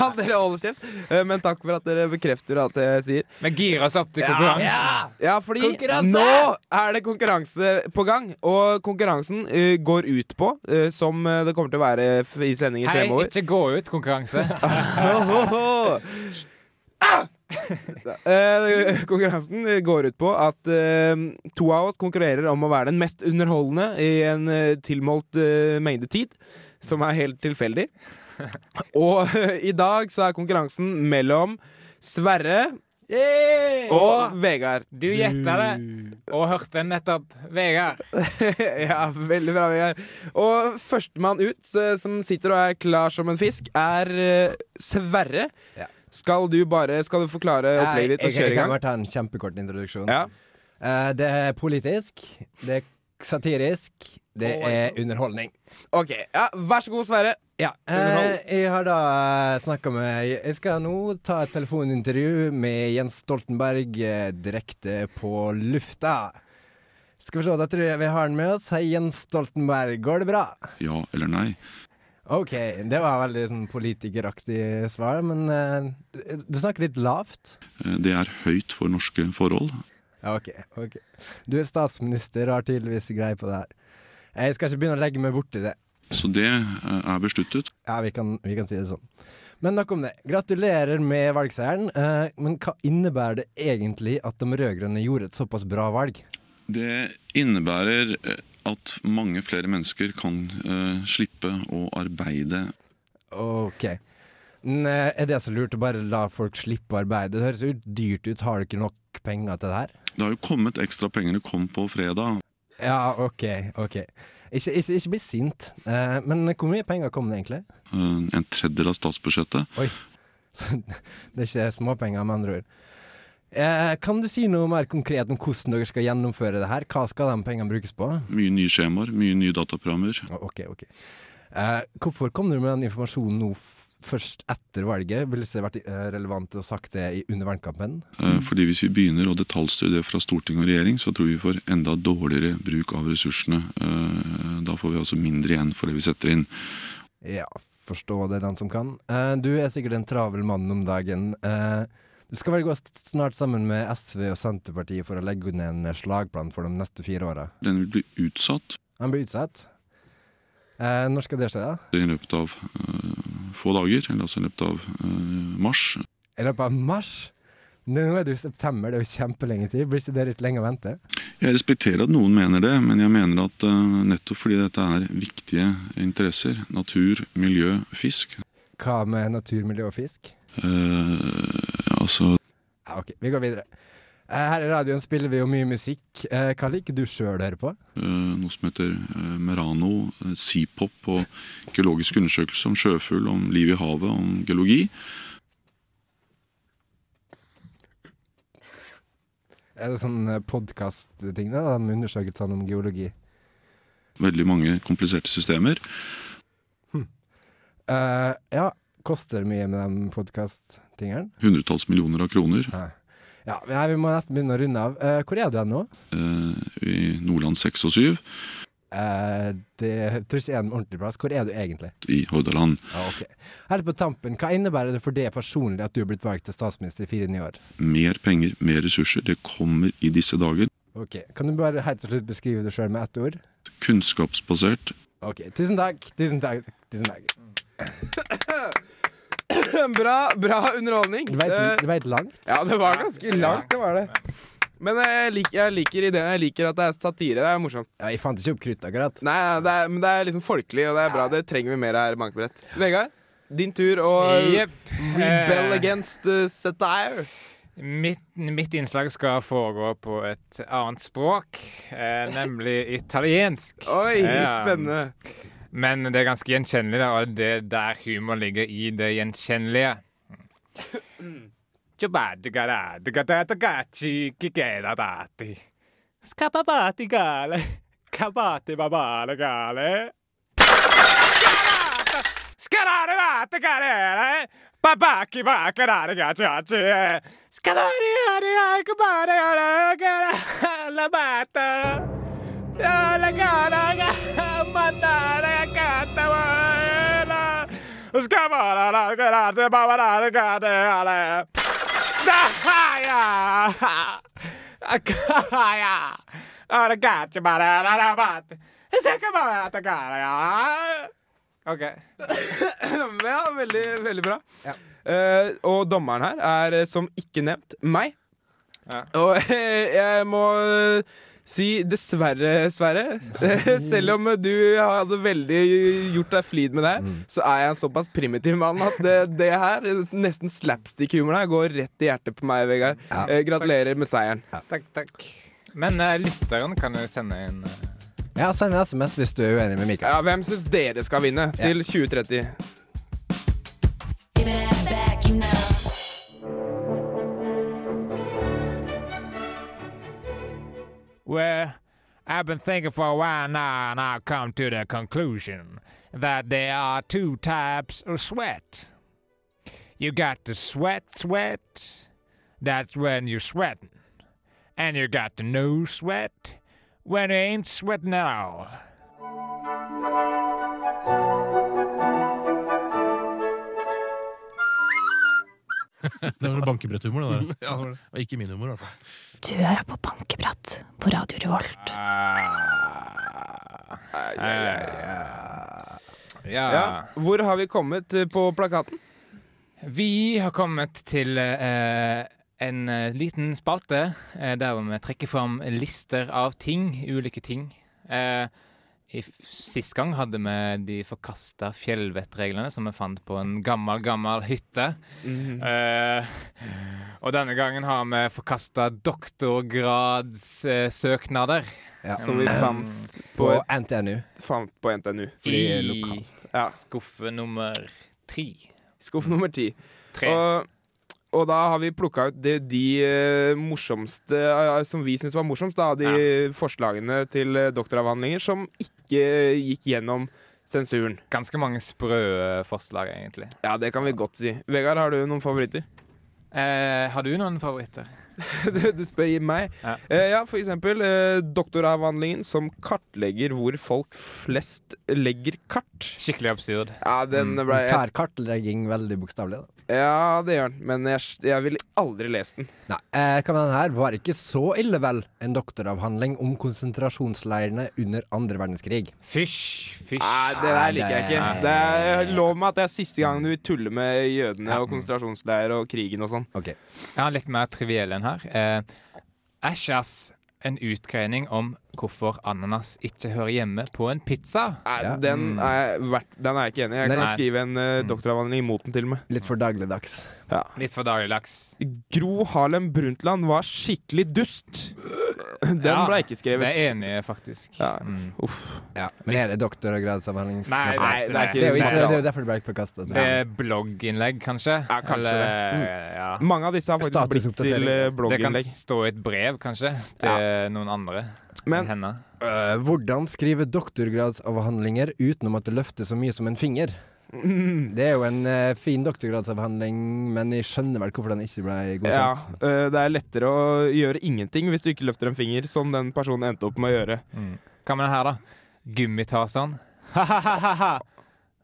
[SPEAKER 2] Kan dere holde kjeft? Eh, Men takk for at dere bekrefter alt det jeg sier.
[SPEAKER 1] Vi girer oss opp til konkurransen.
[SPEAKER 2] Ja, fordi nå er det konkurranse på gang, og konkurransen eh, går ut på, eh, som eh, det kommer til å være f i sendinger
[SPEAKER 1] Hei,
[SPEAKER 2] fremover
[SPEAKER 1] ikke gå ut konkurranse.
[SPEAKER 2] Ah! Eh, Konkurransen går ut på at eh, to av oss konkurrerer om å være den mest underholdende i en eh, tilmålt eh, mengde tid, som er helt tilfeldig. Og eh, i dag så er konkurransen mellom Sverre og Vegard.
[SPEAKER 1] Du gjetta det, og hørte den nettopp. Vegard.
[SPEAKER 2] ja, veldig bra, Vegard. Og førstemann ut, eh, som sitter og er klar som en fisk, er eh, Sverre.
[SPEAKER 4] Ja.
[SPEAKER 2] Skal du bare Skal du forklare
[SPEAKER 4] Nei,
[SPEAKER 2] opplegget ditt og
[SPEAKER 4] jeg,
[SPEAKER 2] kjøre
[SPEAKER 4] jeg
[SPEAKER 2] i
[SPEAKER 4] kan
[SPEAKER 2] gang?
[SPEAKER 4] bare ta en kjempekort introduksjon.
[SPEAKER 2] Ja.
[SPEAKER 4] Eh, det er politisk, det er satirisk, det er underholdning.
[SPEAKER 2] OK. Ja, vær så god, Sverre.
[SPEAKER 4] Ja, eh,
[SPEAKER 2] Underhold.
[SPEAKER 4] jeg har da snakka med Jeg skal nå ta et telefonintervju med Jens Stoltenberg eh, direkte på lufta. Skal vi se, da tror jeg vi har han med oss. Hei, Jens Stoltenberg, går det bra?
[SPEAKER 9] Ja eller nei?
[SPEAKER 4] OK, det var veldig sånn politikeraktig svar, men eh, du snakker litt lavt.
[SPEAKER 9] Eh, Det er høyt for norske forhold.
[SPEAKER 4] Ja, ok, ok. Du er statsminister og har tydeligvis greie på det her. Jeg skal ikke begynne å legge meg borti det.
[SPEAKER 9] Så det eh, er besluttet.
[SPEAKER 4] Ja, vi kan, vi kan si det sånn. Men nok om det. Gratulerer med valgseieren. Eh, men hva innebærer det egentlig at de rød-grønne gjorde et såpass bra valg?
[SPEAKER 9] Det innebærer eh, at mange flere mennesker kan eh, slippe å arbeide.
[SPEAKER 4] Ok. Men, eh, er det så lurt å bare la folk slippe å arbeide? Det høres jo dyrt ut. Har du ikke nok penger til det her?
[SPEAKER 9] Det har jo kommet ekstra penger. Det kom på fredag.
[SPEAKER 4] Ja, ok, ok. Ikke, ikke, ikke bli sint. Eh, men hvor mye penger kom det egentlig?
[SPEAKER 9] Eh, En tredjedel av statsbudsjettet.
[SPEAKER 4] Så det er ikke småpenger, med andre ord. Eh, kan du si noe mer konkret om hvordan dere skal gjennomføre det her? Hva skal de pengene brukes på?
[SPEAKER 9] Mye nye skjemaer, mye nye dataprogrammer.
[SPEAKER 4] Å, Ok, ok. Eh, hvorfor kom dere med den informasjonen nå f først etter valget? Ville det ikke vært eh, relevant å sagt det i- under valgkampen?
[SPEAKER 9] Eh, Fordi hvis vi begynner å detaljstyre det fra storting og regjering, så tror vi vi får enda dårligere bruk av ressursene. Eh, Da får vi altså mindre igjen for det vi setter inn.
[SPEAKER 4] Ja, forstå det, den som kan. Eh, du er sikkert en travel mann om dagen. Eh, du skal vel gå st- snart sammen med SV og Senterpartiet for å legge ned en slagplan for de neste fire åra.
[SPEAKER 9] Den vil bli utsatt
[SPEAKER 4] Han blir utsatt. Eh, når skal det skje, da?
[SPEAKER 9] i løpet av eh, få dager, eller altså i løpet av eh, mars.
[SPEAKER 4] I løpet av mars? Nå er det jo september, det er jo kjempelenge til. Blir ikke det litt lenge å vente?
[SPEAKER 9] Jeg respekterer at noen mener det, men jeg mener at eh, nettopp fordi dette er viktige interesser, natur, miljø, fisk
[SPEAKER 4] Hva med natur, miljø og fisk?
[SPEAKER 9] eh, Altså,
[SPEAKER 4] Ja, ok, vi går videre. Eh, Her i radioen spiller vi jo mye musikk. Eh, Hva liker du sjøl å høre på?
[SPEAKER 9] eh, noe som heter eh, Merano, eh, Seapop og geologiske undersøkelser om sjøfugl, om liv i havet, om geologi.
[SPEAKER 4] Er det sånn podkast-ting, da? De undersøkelsene om geologi.
[SPEAKER 9] Veldig mange kompliserte systemer.
[SPEAKER 4] Eh, ja, koster det mye med de podkast-tingene?
[SPEAKER 9] Hundretalls millioner av kroner
[SPEAKER 4] Ja, nei, vi må nesten begynne å runde av. Eh, hvor er du hen nå?
[SPEAKER 9] eh, i Nordland 6 og 7
[SPEAKER 4] Eh, det tror ikke er en ordentlig plass. Hvor er du egentlig?
[SPEAKER 9] i Hordaland.
[SPEAKER 4] Ja, ok. Helt på tampen, hva innebærer det for deg personlig at du er blitt valgt til statsminister i fire nye år?
[SPEAKER 9] Mer penger, mer ressurser. Det kommer i disse dager.
[SPEAKER 4] Ok, Kan du bare helt til slutt beskrive det sjøl med ett ord?
[SPEAKER 9] Kunnskapsbasert.
[SPEAKER 4] Ok, tusen takk, tusen takk, tusen takk.
[SPEAKER 2] Bra, bra underholdning.
[SPEAKER 4] Du veit
[SPEAKER 2] Eh,
[SPEAKER 4] du veit langt?
[SPEAKER 2] Ja, det var ganske langt, det var det. Men eh, jeg liker, jeg liker ideen. Jeg liker at det er satire. Det er morsomt.
[SPEAKER 4] Ja, jeg fant ikke opp krutt akkurat.
[SPEAKER 2] Nei, nei, det er, men det er liksom folkelig, og det er bra. Det trenger vi mer her, Mankebrett. Vegard, din tur å
[SPEAKER 1] Jepp.
[SPEAKER 2] rebel
[SPEAKER 1] Eh,
[SPEAKER 2] against uh, satire.
[SPEAKER 1] Mitt, mitt innslag skal foregå på et annet språk, eh, nemlig italiensk.
[SPEAKER 2] Oi,
[SPEAKER 1] Ja.
[SPEAKER 2] spennende.
[SPEAKER 1] Men det er ganske gjenkjennelig, da, og det er der humor ligger i det gjenkjennelige. Ciobadigaradagadatagaci, kikeradati. Skababatigale, kabatibabalegale. Skarata, skararevatagarere, babakibakararegaciaci, skabariariakabaregaregaralabata. OK.
[SPEAKER 2] Ja, veldig, veldig bra. Eh, og dommeren her er, eh, som ikke nevnt, meg.
[SPEAKER 1] Ja.
[SPEAKER 2] Og eh, jeg må eh, si dessverre, Sverre. Eh, Selv om eh, du hadde veldig gjort deg flid med det, her, så er jeg en såpass primitiv mann at det, det her, eh, nesten slapstick-humoren her, går rett i hjertet på meg, Vegard. Eh, gratulerer med seieren.
[SPEAKER 1] Takk, takk. Men eh, lytteren kan jo sende inn eh,
[SPEAKER 4] Ja, Send en SMS hvis du er uenig med Mikael.
[SPEAKER 2] Ja, hvem syns dere skal vinne til 2030?
[SPEAKER 1] Well, I've been thinking for a while now, and I've come to the conclusion that there are two types of sweat. You got the sweat, sweat, that's when you're sweating. And you got the no sweat, when you ain't sweating at all.
[SPEAKER 10] Det var bankebretthumor, det der. Og ikke min humor, i hvert fall.
[SPEAKER 6] Du hører på Bankeprat på Radio Revolt.
[SPEAKER 1] Ah. Eh.
[SPEAKER 2] Ja. Hvor har vi kommet eh, på plakaten?
[SPEAKER 1] Vi har kommet til eh, en eh, liten spalte eh, der hvor vi trekker fram lister av ting, ulike ting. Eh, I f- Sist gang hadde vi de forkasta fjellvettreglene som vi fant på en gammel, gammel hytte.
[SPEAKER 2] Mhm.
[SPEAKER 1] Eh, og denne gangen har vi forkasta doktorgradssøknader. eh,
[SPEAKER 4] Ja.
[SPEAKER 2] Som vi fant på
[SPEAKER 4] På
[SPEAKER 2] et-
[SPEAKER 4] NTNU.
[SPEAKER 2] Fant på NTNU.
[SPEAKER 4] Fordi
[SPEAKER 1] I skuffe nummer tre.
[SPEAKER 2] Skuff nummer ti.
[SPEAKER 1] Tre.
[SPEAKER 2] Og, og da har vi plukka ut de, de eh, morsomste eh, som vi syns var morsomst, da. De forslagene til eh, doktoravhandlinger som ikke eh, gikk gjennom sensuren.
[SPEAKER 1] Ganske mange sprø eh, forslag, egentlig.
[SPEAKER 2] Ja, det kan vi godt si. Vegard, har du noen favoritter?
[SPEAKER 1] Eh, har du noen favoritter?
[SPEAKER 2] du, du spør meg. Ja. ja, for eksempel eh, doktoravhandlingen som kartlegger hvor folk flest legger kart.
[SPEAKER 1] Skikkelig absurd.
[SPEAKER 2] Ja, den
[SPEAKER 4] Mm.
[SPEAKER 2] ble
[SPEAKER 4] Du tar kartlegging veldig bokstavelig, da.
[SPEAKER 2] Ja, det gjør den, men jeg, jeg ville aldri lest den.
[SPEAKER 4] Nei, eh, hva med den her? Var ikke så ille, vel? En doktoravhandling om konsentrasjonsleirene under andre verdenskrig.
[SPEAKER 1] Fysj, fysj.
[SPEAKER 2] Nei, det der liker jeg ikke. Det er, lov meg at det er siste gang du tuller med jødene og konsentrasjonsleir og krigen og sånn.
[SPEAKER 4] Ok.
[SPEAKER 1] Jeg har litt mer triviell enn her. Eh, Ashas, en utgreining om hvorfor ananas ikke hører hjemme på en pizza.
[SPEAKER 2] Nei, den, er jeg, verdt- den er jeg ikke enig i. Jeg kan
[SPEAKER 1] Nei.
[SPEAKER 2] skrive en eh, doktoravhandling imot den, til og med.
[SPEAKER 4] Litt for dagligdags.
[SPEAKER 2] Ja.
[SPEAKER 1] Litt for dagligdags.
[SPEAKER 2] Gro Harlem Brundtland var skikkelig dust. Den
[SPEAKER 1] Ja,
[SPEAKER 2] ble ikke skrevet.
[SPEAKER 1] Det er enig, faktisk. Mm.
[SPEAKER 2] Ja. Uff.
[SPEAKER 4] Ja, men er det doktorgradsavhandling?
[SPEAKER 1] Nei,
[SPEAKER 4] Nei,
[SPEAKER 1] det
[SPEAKER 4] det
[SPEAKER 1] er ikke-
[SPEAKER 4] er jo
[SPEAKER 1] det er-
[SPEAKER 4] ikke- det er jo derfor det ble altså. forkasta.
[SPEAKER 1] Det er blogginnlegg, kanskje? eh,
[SPEAKER 2] Ja, kanskje det. Mm.
[SPEAKER 1] ja.
[SPEAKER 2] Mange av disse har faktisk blitt til eh, blogginnlegg.
[SPEAKER 1] Det kan stå i et brev, kanskje, til noen andre
[SPEAKER 2] Men-
[SPEAKER 1] enn henne.
[SPEAKER 4] Eh, hvordan skrive doktorgradsavhandlinger uten å måtte løfte så mye som en finger? Det er jo en eh, fin doktorgradsavhandling, men jeg skjønner vel hvorfor den ikke ble
[SPEAKER 2] Ja,
[SPEAKER 4] godkjent.
[SPEAKER 2] eh, det er lettere å gjøre ingenting hvis du ikke løfter en finger, som den personen endte opp med å gjøre.
[SPEAKER 1] Mm. Hva med den her, da? Gummitarzan. Ha-ha-ha!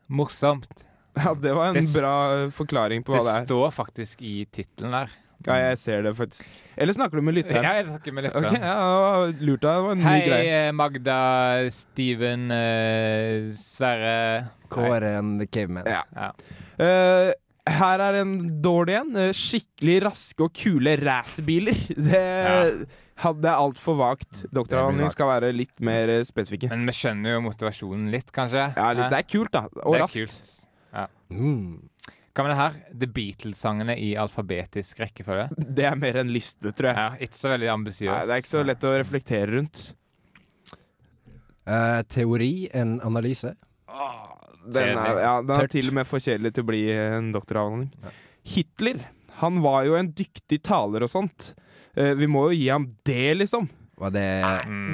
[SPEAKER 1] Morsomt.
[SPEAKER 2] Ja, det var en
[SPEAKER 1] Det s-
[SPEAKER 2] bra eh, forklaring på
[SPEAKER 1] Det
[SPEAKER 2] hva det er.
[SPEAKER 1] står faktisk i tittelen der.
[SPEAKER 2] Ja, jeg ser det faktisk. Eller snakker du med lytteren?
[SPEAKER 1] Ja, jeg snakker med lytteren.
[SPEAKER 2] Ok, ja, det var lurt av deg. Det var en ny
[SPEAKER 1] Hei,
[SPEAKER 2] greie.
[SPEAKER 1] eh, Magda, Steven, eh, Sverre
[SPEAKER 4] Kåre and the Caveman.
[SPEAKER 2] Ja.
[SPEAKER 1] Ja.
[SPEAKER 2] Eh, her er en dårlig en. Eh, Skikkelig raske og kule racerbiler. Det hadde jeg altfor vagt. Doktoravhandling
[SPEAKER 1] vagt.
[SPEAKER 2] skal være litt mer eh, spesifikke.
[SPEAKER 1] Men vi skjønner jo motivasjonen litt, kanskje.
[SPEAKER 2] Ja, litt, det er kult, da. Og
[SPEAKER 1] Det er
[SPEAKER 2] raskt.
[SPEAKER 1] kult. Ja.
[SPEAKER 4] Mm.
[SPEAKER 1] Hva med det her? The Beatles-sangene i alfabetisk rekkefølge.
[SPEAKER 2] Det er mer en liste, tror jeg.
[SPEAKER 1] Ja, ikke så veldig
[SPEAKER 2] Nei,
[SPEAKER 1] ambisiøs.
[SPEAKER 2] det er ikke så lett å reflektere rundt.
[SPEAKER 4] Eh, teori, en analyse.
[SPEAKER 2] Den er,
[SPEAKER 1] Kjedelig.
[SPEAKER 2] ja, den er
[SPEAKER 4] Tørt.
[SPEAKER 2] til og med for kjedelig til å bli en doktoravhandling. Hitler han var jo en dyktig taler og sånt. Eh, vi må jo gi ham det, liksom.
[SPEAKER 4] Var det,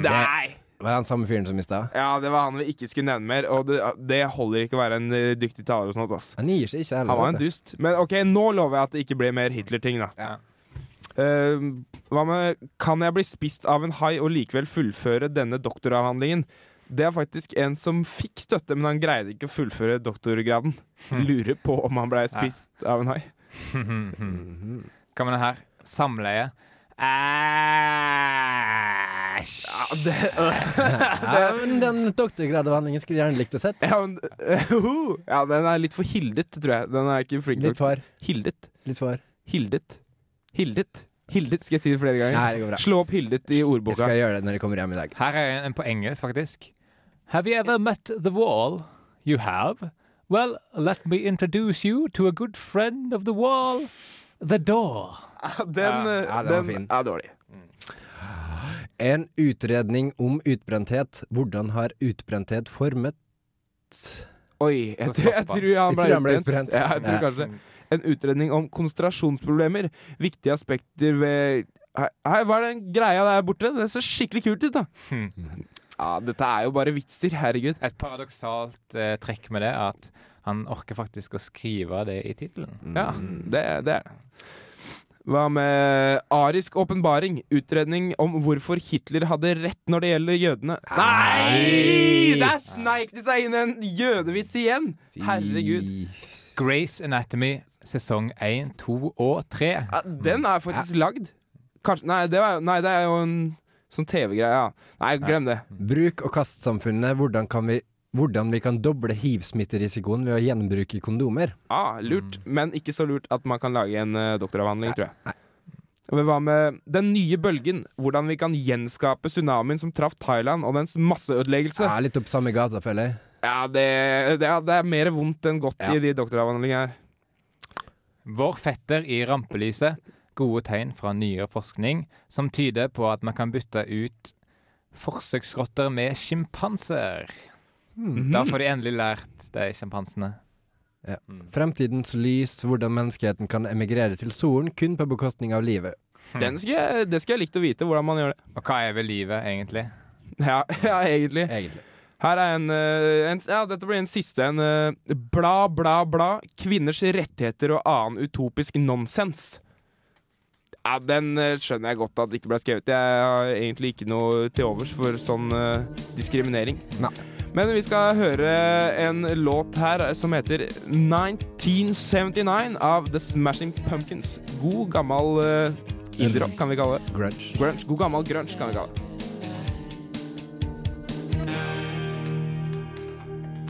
[SPEAKER 4] det
[SPEAKER 2] Nei!
[SPEAKER 4] Var det han samme fyren som i stad?
[SPEAKER 2] Ja, det var han vi ikke skulle nevne mer. Og det, det holder ikke å være en eh, dyktig taler og sånt. Ass.
[SPEAKER 4] Han gir seg ikke heller.
[SPEAKER 2] Han var en
[SPEAKER 4] vet du.
[SPEAKER 2] dust. Men ok, nå lover jeg at det ikke blir mer Hitler-ting, da.
[SPEAKER 1] Ja.
[SPEAKER 2] Eh, hva med Kan jeg bli spist av en hai og likevel fullføre denne doktoravhandlingen? Det er faktisk en som fikk støtte, men han greide ikke å fullføre doktorgraden. Lurer på om han ble spist av en hai. Mhm.
[SPEAKER 1] Hva med det her? Samleie. Æsj!
[SPEAKER 4] Ja, men den doktorgradsavhandlingen skulle jeg gjerne likt å sett.
[SPEAKER 2] Ja, men, eh, ja, den er litt for hildet, tror jeg. Den er ikke flink
[SPEAKER 4] Litt
[SPEAKER 2] nok.
[SPEAKER 4] for.
[SPEAKER 2] Hildet.
[SPEAKER 4] Litt for.
[SPEAKER 2] Hildet. Hildet. Hildet, skal jeg si det flere ganger?
[SPEAKER 4] Nei, det går bra.
[SPEAKER 2] Slå opp Hildet i
[SPEAKER 4] Jeg
[SPEAKER 2] ordboka.
[SPEAKER 4] skal gjøre det når jeg kommer hjem i dag.
[SPEAKER 1] Her er en på engelsk, faktisk. Have you ever met the wall? You have? Well, let me introduce you to a good friend of the wall, the door.
[SPEAKER 2] Den, eh,
[SPEAKER 4] Ja, den var
[SPEAKER 2] den,
[SPEAKER 4] fin.
[SPEAKER 2] er dårlig.
[SPEAKER 4] En utredning om utbrenthet. Hvordan har utbrenthet formet
[SPEAKER 2] Oi, jeg,
[SPEAKER 1] Så
[SPEAKER 2] tror- jeg
[SPEAKER 1] slapp av.
[SPEAKER 2] tror han
[SPEAKER 4] Jeg
[SPEAKER 2] ble,
[SPEAKER 4] tror han ble
[SPEAKER 2] utbrent.
[SPEAKER 4] utbrent.
[SPEAKER 2] Ja, jeg tror
[SPEAKER 4] Ja.
[SPEAKER 1] sånn
[SPEAKER 2] kanskje. En utredning om konsentrasjonsproblemer. Viktige aspekter ved Hei, hei, hva er den greia der borte? Det ser skikkelig kult ut, da. Ja, dette er jo bare vitser. Herregud.
[SPEAKER 1] Et paradoksalt eh, trekk med det er at han orker faktisk å skrive det i tittelen.
[SPEAKER 2] Ja, det, det er det. Hva med arisk åpenbaring? Utredning om hvorfor Hitler hadde rett når det gjelder jødene. Nei! Der sneik det seg inn en jødevits igjen! Herregud.
[SPEAKER 1] Grace Anatomy sesong 1, 2 og 3.
[SPEAKER 2] Ja, den er faktisk lagd. Kanskje, nei, det var, nei, det er jo en sånn TV-greie. Ja. Nei, glem det.
[SPEAKER 4] Bruk- og kastsamfunnet. Hvordan, kan vi, hvordan vi kan doble hiv-smitterisikoen ved å gjenbruke kondomer.
[SPEAKER 2] Mm. Ah, lurt, men ikke så lurt at man kan lage en eh, doktoravhandling, tror jeg. Men Hva med den nye bølgen? Hvordan vi kan gjenskape tsunamien som traff Thailand og dens masseødeleggelse?
[SPEAKER 4] Ja, litt opp samme gata, føler jeg.
[SPEAKER 2] Ja, det, det, ja, det er mer vondt enn godt i de doktoravhandlingene her.
[SPEAKER 1] Vår fetter i rampelyset. Gode tegn fra nyere forskning som tyder på at man kan bytte ut forsøksrotter med sjimpanser.
[SPEAKER 2] Mhm.
[SPEAKER 4] Hmm.
[SPEAKER 1] Da får de endelig lært de sjimpansene.
[SPEAKER 4] Ja. Fremtidens lys, hvordan menneskeheten kan emigrere til solen kun på bekostning av livet.
[SPEAKER 2] Den skal jeg, det skulle jeg likt å vite, hvordan man gjør det.
[SPEAKER 1] Og hva er vel livet, egentlig?
[SPEAKER 2] Ja, ja egentlig. Her er en, eh, en Ja, dette blir en siste en. eh, Bla, bla, bla. Kvinners rettigheter og annen utopisk nonsens. Ja, den eh, skjønner jeg godt at det ikke ble skrevet. Jeg har egentlig ikke noe til overs for sånn eh, diskriminering. Men vi skal høre en låt her som heter 1979 av The Smashing Pumpkins. God gammel uh, indie-rock, kan vi kalle det.
[SPEAKER 4] Grunge.
[SPEAKER 2] God gammel grunge, kan vi kalle det.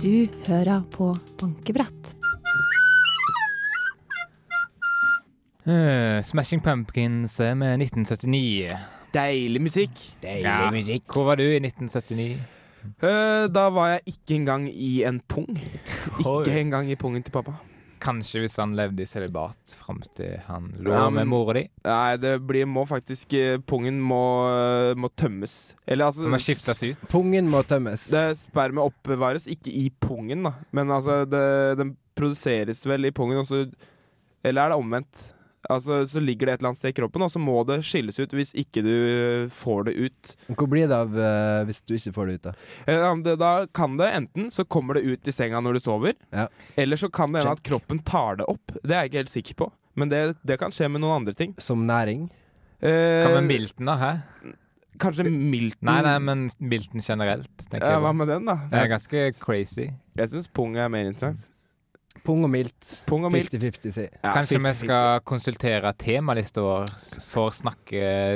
[SPEAKER 6] Du hører på bankebrett.
[SPEAKER 1] Eh, Smashing Pumpkins eh, med 1979.
[SPEAKER 2] Deilig musikk.
[SPEAKER 1] Deilig musikk. Hvor var du i 1979?
[SPEAKER 2] Eh, da var jeg ikke engang i en pung. Ikke engang i pungen til pappa.
[SPEAKER 1] Kanskje hvis han levde i sølibat fram til han lå
[SPEAKER 2] Ja,
[SPEAKER 1] med
[SPEAKER 2] men-
[SPEAKER 1] mora di.
[SPEAKER 2] Nei, det blir, må faktisk eh, Pungen må, må tømmes. Eller altså
[SPEAKER 1] Må skiftes ut.
[SPEAKER 4] Pungen må tømmes.
[SPEAKER 2] Det spermet oppbevares ikke i pungen, da. Men altså, det, den produseres vel i pungen, og så Eller er det omvendt? Altså, Så ligger det et eller annet sted i kroppen, og så må det skilles ut hvis ikke du eh, får det ut.
[SPEAKER 4] Hvor blir det av eh, hvis du ikke får det ut, da?
[SPEAKER 2] Eh, om det- Da kan det enten så kommer det ut i senga når du sover,
[SPEAKER 4] Ja.
[SPEAKER 2] eller så kan det hende at kroppen tar det opp. Det er jeg ikke helt sikker på, men det, det kan skje med noen andre ting.
[SPEAKER 4] Som næring?
[SPEAKER 2] Eh,
[SPEAKER 1] Hva med milten, da? Hæ?
[SPEAKER 2] Kanskje milten
[SPEAKER 1] Nei, nei, men milten generelt. tenker
[SPEAKER 2] ja,
[SPEAKER 1] jeg.
[SPEAKER 2] Hva med den, da?
[SPEAKER 1] Det er ganske crazy.
[SPEAKER 2] Jeg syns pung er mer interessant.
[SPEAKER 4] Pung og milt.
[SPEAKER 2] Pung og milt.
[SPEAKER 4] 50-50, si.
[SPEAKER 2] Ja,
[SPEAKER 1] Kanskje
[SPEAKER 2] 50-50.
[SPEAKER 1] vi skal konsultere temalista vår for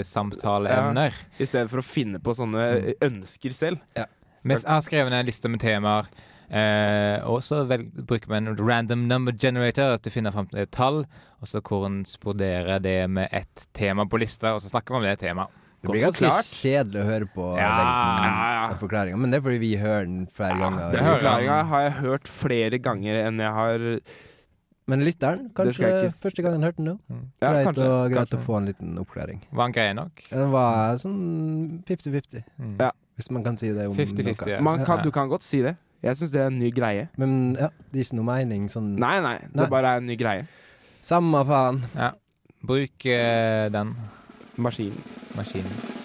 [SPEAKER 1] snakkesamtaleemner.
[SPEAKER 2] I stedet for å finne på
[SPEAKER 1] Mm.
[SPEAKER 2] sånne eh, ønsker selv.
[SPEAKER 1] Vi har skrevet ned en liste med temaer, eh, og så vel, bruker vi en random number generator til å finne fram til et tall, og så korresponderer det med ett tema på lista, og så snakker vi om det temaet.
[SPEAKER 4] Det blir ganske kjedelig å høre på
[SPEAKER 1] Ja.
[SPEAKER 4] den
[SPEAKER 2] Ja, ja.
[SPEAKER 4] forklaringa, men det er fordi vi hører den flere ganger.
[SPEAKER 2] Den forklaringa har jeg hørt flere ganger enn jeg har
[SPEAKER 4] Men lytteren,
[SPEAKER 2] Det skal
[SPEAKER 4] kanskje
[SPEAKER 2] jeg ikke-
[SPEAKER 4] første gangen hørte den nå.
[SPEAKER 2] Ja,
[SPEAKER 4] greit
[SPEAKER 2] kanskje,
[SPEAKER 4] å, greit
[SPEAKER 2] kanskje.
[SPEAKER 4] å få en liten oppklaring.
[SPEAKER 1] Var han grei nok?
[SPEAKER 4] Den var sånn 50-50,
[SPEAKER 2] Ja.
[SPEAKER 4] hvis man kan si det om
[SPEAKER 1] 50-50,
[SPEAKER 4] noe.
[SPEAKER 1] ja.
[SPEAKER 2] Man kan, du kan godt si det. Jeg syns det er en ny greie.
[SPEAKER 4] Men ja, det er ikke noe mening sånn
[SPEAKER 2] Nei, nei. Det
[SPEAKER 4] Nei.
[SPEAKER 2] bare er en ny greie.
[SPEAKER 4] Samme faen.
[SPEAKER 1] Ja. Bruk eh, den
[SPEAKER 2] Maskinen.
[SPEAKER 1] maskinen.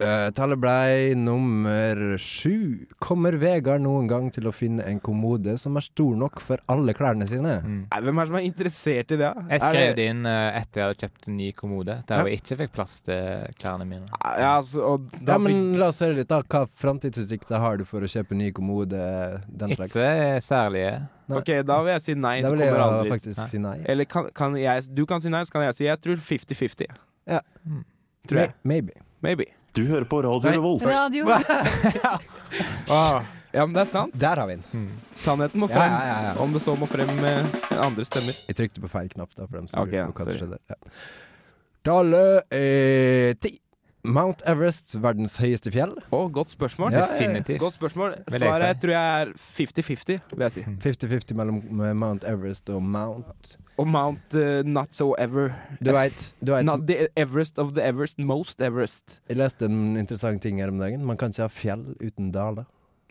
[SPEAKER 4] Eh, tallet blei nummer sju. Kommer Vegard noen gang til å finne en kommode som er stor nok for alle klærne sine?
[SPEAKER 2] Nei, hvem er det som er interessert i det? da?
[SPEAKER 1] Mm. Jeg
[SPEAKER 2] Er
[SPEAKER 1] skrev
[SPEAKER 2] det-
[SPEAKER 1] det inn eh, etter jeg hadde kjøpt en ny kommode, der jeg ikke fikk plass til klærne mine.
[SPEAKER 2] Ja, altså, og da
[SPEAKER 4] Ja,
[SPEAKER 2] fikk
[SPEAKER 4] men La oss høre litt, da. Hva framtidsutsikter har du for å kjøpe ny kommode? Den slags.
[SPEAKER 1] Ikke særlige.
[SPEAKER 2] OK, da vil jeg si nei.
[SPEAKER 4] Da
[SPEAKER 2] Du
[SPEAKER 4] vil jeg
[SPEAKER 2] kommer
[SPEAKER 4] jo
[SPEAKER 2] aldri
[SPEAKER 4] faktisk si nei.
[SPEAKER 2] Eller kan, kan jeg Du kan si nei, så kan jeg si jeg tror 50-50.
[SPEAKER 4] Ja.
[SPEAKER 1] Hmm.
[SPEAKER 2] Tror jeg.
[SPEAKER 4] May- Maybe.
[SPEAKER 2] Maybe.
[SPEAKER 9] Du hører på Radio
[SPEAKER 2] Nei.
[SPEAKER 9] Revolt.
[SPEAKER 11] Radio.
[SPEAKER 1] Ah.
[SPEAKER 2] Ja, men det er sant.
[SPEAKER 4] Der har vi den.
[SPEAKER 2] Mm. Sannheten må
[SPEAKER 4] Ja,
[SPEAKER 2] frem.
[SPEAKER 4] ja, ja, ja.
[SPEAKER 2] Om det så må frem med andre stemmer.
[SPEAKER 4] Jeg trykte på feil knapp, da, for dem som
[SPEAKER 2] Ok, ja,
[SPEAKER 4] lurer på hva som
[SPEAKER 2] sorry.
[SPEAKER 4] skjedde. Ja. Tallet er ti. Mount Everest, verdens høyeste fjell.
[SPEAKER 2] Å, godt spørsmål.
[SPEAKER 4] Ja,
[SPEAKER 1] Definitivt.
[SPEAKER 2] Godt spørsmål.
[SPEAKER 1] Vil jeg
[SPEAKER 2] Svaret tror jeg er 50-50, vil jeg si.
[SPEAKER 4] 50-50 mellom eh, Mount Everest og Mount
[SPEAKER 2] Og Mount eh, Not So Ever.
[SPEAKER 4] Du veit, du veit
[SPEAKER 2] Not the Everest of the Everest, most Everest.
[SPEAKER 4] Jeg leste en interessant ting her om dagen. Man kan ikke ha fjell uten daler.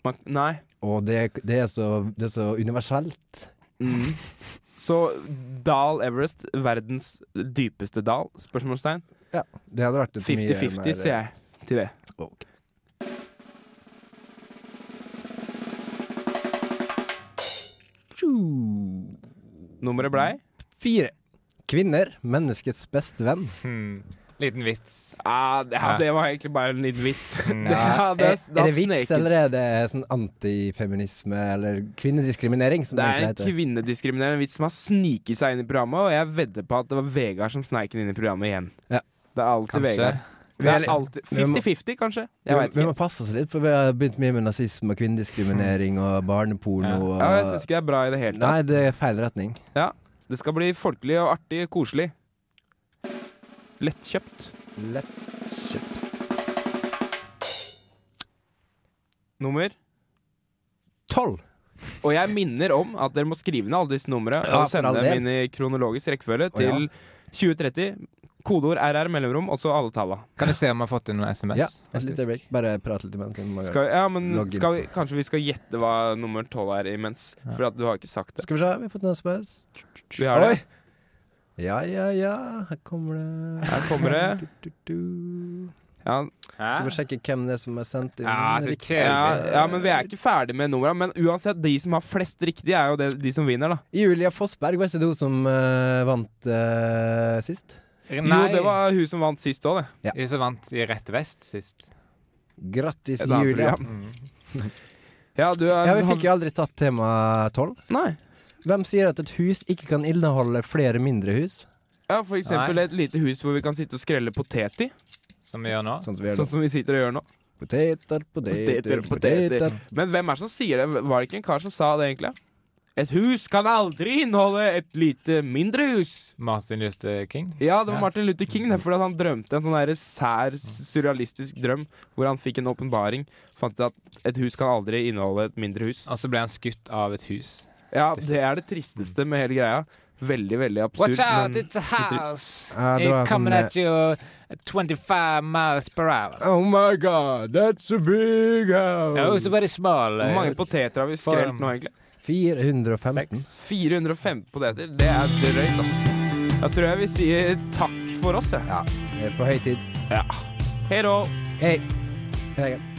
[SPEAKER 2] Man, nei.
[SPEAKER 4] Og det, det, er så, det er så universelt.
[SPEAKER 2] Mm. Så Dal Everest, verdens dypeste dal? Spørsmålstegn.
[SPEAKER 4] Ja, det hadde vært et mye
[SPEAKER 2] 50-50,
[SPEAKER 4] mer-
[SPEAKER 2] sier jeg til det.
[SPEAKER 4] Ok.
[SPEAKER 2] Nummeret blei?
[SPEAKER 4] Fire. Kvinner, menneskets beste venn.
[SPEAKER 1] Hmm. Liten vits.
[SPEAKER 2] Ah, det, ja,
[SPEAKER 1] Ja.
[SPEAKER 2] det var egentlig bare en liten vits. Ja,
[SPEAKER 4] Ja,
[SPEAKER 2] det-
[SPEAKER 4] er,
[SPEAKER 2] da
[SPEAKER 4] er det vits,
[SPEAKER 2] sneket-
[SPEAKER 4] eller er det sånn antifeminisme eller kvinnediskriminering? Som
[SPEAKER 2] Det er en
[SPEAKER 4] egentlig heter?
[SPEAKER 2] kvinnediskriminerende vits som har sniket seg inn i programmet, og jeg vedder på at det var Vegard som sneik den inn i programmet igjen.
[SPEAKER 4] Ja.
[SPEAKER 2] Det er alltid
[SPEAKER 1] Kanskje.
[SPEAKER 2] Vegard.
[SPEAKER 4] Vi
[SPEAKER 2] Det
[SPEAKER 4] er
[SPEAKER 2] er
[SPEAKER 4] litt-
[SPEAKER 2] alltid
[SPEAKER 4] vi må-
[SPEAKER 2] 50-50, kanskje? Jeg veit
[SPEAKER 4] Vi må
[SPEAKER 2] ikke.
[SPEAKER 4] passe oss litt, for vi har begynt mye med nazisme og kvinnediskriminering og barneporno. Og,
[SPEAKER 2] Ja, jeg syns ikke det er bra i det hele
[SPEAKER 4] Nei,
[SPEAKER 2] tatt.
[SPEAKER 4] det er feil retning.
[SPEAKER 2] Ja, det skal bli folkelig og artig og koselig. Lettkjøpt.
[SPEAKER 4] Lettkjøpt.
[SPEAKER 2] Nummer?
[SPEAKER 4] Tolv.
[SPEAKER 2] Og jeg minner om at dere må skrive ned alle disse numrene
[SPEAKER 4] Ja,
[SPEAKER 2] og
[SPEAKER 4] for all
[SPEAKER 2] sende
[SPEAKER 4] del.
[SPEAKER 2] dem inn i kronologisk rekkefølge
[SPEAKER 12] Å, ja.
[SPEAKER 2] til 2030. Kodeord RR mellomrom, og så alle talla.
[SPEAKER 12] Kan du se om jeg har fått inn noen SMS?
[SPEAKER 2] Ja,
[SPEAKER 4] Et lite øyeblikk. Bare prat litt imens. vi må
[SPEAKER 2] Skal, ja, men
[SPEAKER 4] logge inn.
[SPEAKER 2] skal vi, kanskje vi skal gjette hva nummer tolv er imens? For at du har ikke sagt det.
[SPEAKER 4] Skal vi se, vi har fått en SMS.
[SPEAKER 2] Vi har det.
[SPEAKER 4] Oi. Ja, ja, ja. Her kommer det.
[SPEAKER 2] Her kommer det.
[SPEAKER 4] Du, du, du.
[SPEAKER 2] Ja.
[SPEAKER 4] Skal vi sjekke hvem det er som er sendt inn?
[SPEAKER 2] Ja,
[SPEAKER 4] riktig?
[SPEAKER 2] ja, ja, men vi er ikke ferdig med numra. Men uansett, de som har flest riktige, er jo det, de som vinner, da.
[SPEAKER 4] Julia Fossberg, var ikke det hun som eh, vant eh, sist?
[SPEAKER 2] Jo, det var hun som vant sist òg, det.
[SPEAKER 12] Hun som vant i Rett vest sist.
[SPEAKER 4] Grattis,
[SPEAKER 2] Et annet
[SPEAKER 4] Julia.
[SPEAKER 2] program. Ja, du er
[SPEAKER 4] Ja, vi fikk jo aldri tatt tema tolv.
[SPEAKER 2] Nei.
[SPEAKER 4] Hvem sier at et hus ikke kan inneholde flere mindre hus?
[SPEAKER 2] Ja, for eksempel et lite hus hvor vi kan sitte og skrelle potet i.
[SPEAKER 12] Som vi gjør nå.
[SPEAKER 4] Sånn som vi gjør
[SPEAKER 2] Sånn
[SPEAKER 4] nå.
[SPEAKER 2] som vi sitter og gjør nå.
[SPEAKER 4] Poteter, poteter,
[SPEAKER 2] Poteter, poteter.
[SPEAKER 4] poteter.
[SPEAKER 2] Men hvem er det som sier det? Var det ikke en kar som sa det, egentlig? Et hus kan aldri inneholde et lite mindre hus.
[SPEAKER 12] Martin Luther King.
[SPEAKER 2] Ja, det var
[SPEAKER 12] Ja.
[SPEAKER 2] Martin Luther King, det, fordi at han drømte en sånn der sær, surrealistisk drøm hvor han fikk en åpenbaring. Fant ut at et hus kan aldri inneholde et mindre hus.
[SPEAKER 12] Og så ble han skutt av et hus.
[SPEAKER 2] Ja, det er det tristeste med hele greia. Veldig, veldig absurd.
[SPEAKER 12] Watch out,
[SPEAKER 2] men-
[SPEAKER 12] it's a house!
[SPEAKER 2] Ja, det var
[SPEAKER 12] It's coming
[SPEAKER 2] sånn,
[SPEAKER 12] at you at 25 miles per hour.
[SPEAKER 4] Oh my god, that's a big house!
[SPEAKER 12] Det er også veldig smal.
[SPEAKER 2] Hvor mange poteter har vi skrelt nå, egentlig? Mm.
[SPEAKER 4] 415.
[SPEAKER 2] 405 poteter. Det er drøyt, altså. Da tror jeg vi sier takk for oss, jeg.
[SPEAKER 4] Ja. Det er på høy tid.
[SPEAKER 2] Ja. Hei då.
[SPEAKER 4] Hei. Hei.